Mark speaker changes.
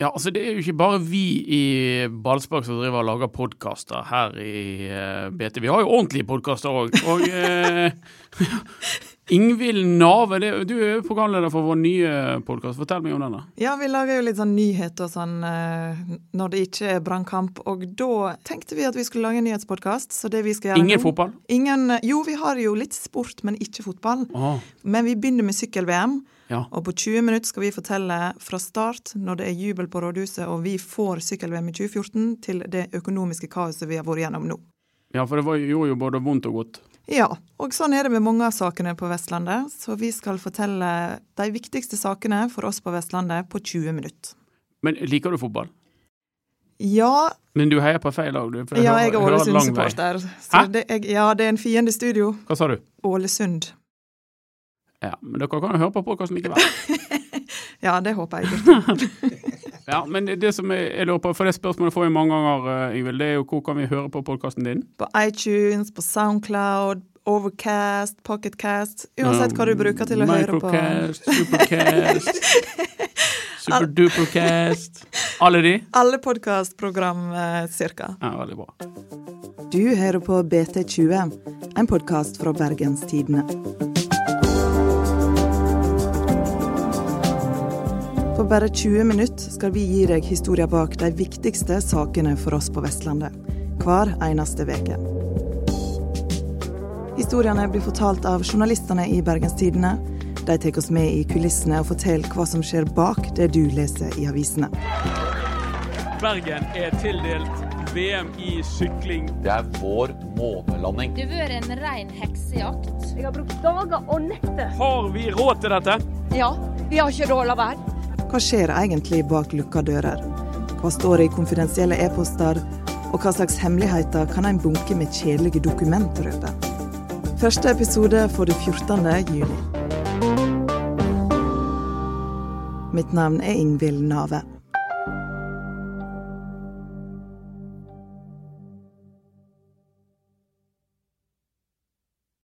Speaker 1: Ja, altså Det er jo ikke bare vi i Ballspark som driver og lager podkaster her i eh, BT. Vi har jo ordentlige podkaster òg. Og eh, Ingvild Nave, det, du er jo programleder for vår nye podkast. Fortell meg om den. da.
Speaker 2: Ja, vi lager jo litt sånn nyheter og sånn eh, når det ikke er brannkamp. Og da tenkte vi at vi skulle lage en nyhetspodkast. Så det vi skal gjøre
Speaker 1: Ingen
Speaker 2: nå-
Speaker 1: fotball?
Speaker 2: Ingen, eh, jo, vi har jo litt sport, men ikke fotball.
Speaker 1: Å,
Speaker 2: Men vi begynner med sykkel-VM.
Speaker 1: ja.
Speaker 2: Og på 20 minutter skal vi fortelle fra start, når det er jubel på rådhuset og vi får sykkel-VM i 2014, til det økonomiske kaoset vi har vært gjennom nå.
Speaker 1: ja, for det var, gjorde jo både vondt og godt.
Speaker 2: Ja, og sånn er det med mange av sakene på Vestlandet, så vi skal fortelle de viktigste sakene for oss på Vestlandet på 20 minutter.
Speaker 1: Men liker du fotball?
Speaker 2: Ja,
Speaker 1: Men du heier på feil lag, du. for
Speaker 2: ja jeg
Speaker 1: hører-
Speaker 2: er
Speaker 1: hører lang vei.
Speaker 2: Ålesund-supporter. så
Speaker 1: Hæ?
Speaker 2: det- jeg- Ja, det er en fiende i studio.
Speaker 1: Hva sa du?
Speaker 2: Ålesund.
Speaker 1: Ja, men Dere kan jo høre på podkasten likevel.
Speaker 2: Ja, det håper jeg.
Speaker 1: Ja, men det som jeg, jeg lurer på, for det spørsmålet får jeg mange ganger, eh, Ingvild, det er jo hvor kan vi høre på podkasten din?
Speaker 2: På iTunes, på Soundcloud, Overcast, Pocketcast Uansett hva du bruker til å høre på.
Speaker 1: Microcast, Supercast, Superdupercast Alle de?
Speaker 2: Alle podkastprogram, eh, cirka.
Speaker 1: Ja, veldig bra.
Speaker 2: Du hører på BT20, en podkast fra Bergenstidene. På bare 20 minutter skal vi gi deg historia bak de viktigste sakene for oss på Vestlandet. Hver eneste uke. Historiene blir fortalt av journalistene i Bergenstidene. De tar oss med i kulissene og forteller hva som skjer bak det du leser i avisene.
Speaker 1: Bergen er tildelt VM i sykling.
Speaker 3: Det er vår månelanding.
Speaker 4: Det har vært en rein heksejakt.
Speaker 5: Jeg har brukt dager og netter.
Speaker 1: Har vi råd til dette?
Speaker 4: Ja, vi har ikke råd å la være.
Speaker 2: Hva skjer egentlig bak lukka dører? Hva står det i konfidensielle e-poster? Og hva slags hemmeligheter kan en bunke med kjedelige dokument røpe? Første episode for det 14. juni. Mitt navn er Ingvild Nave.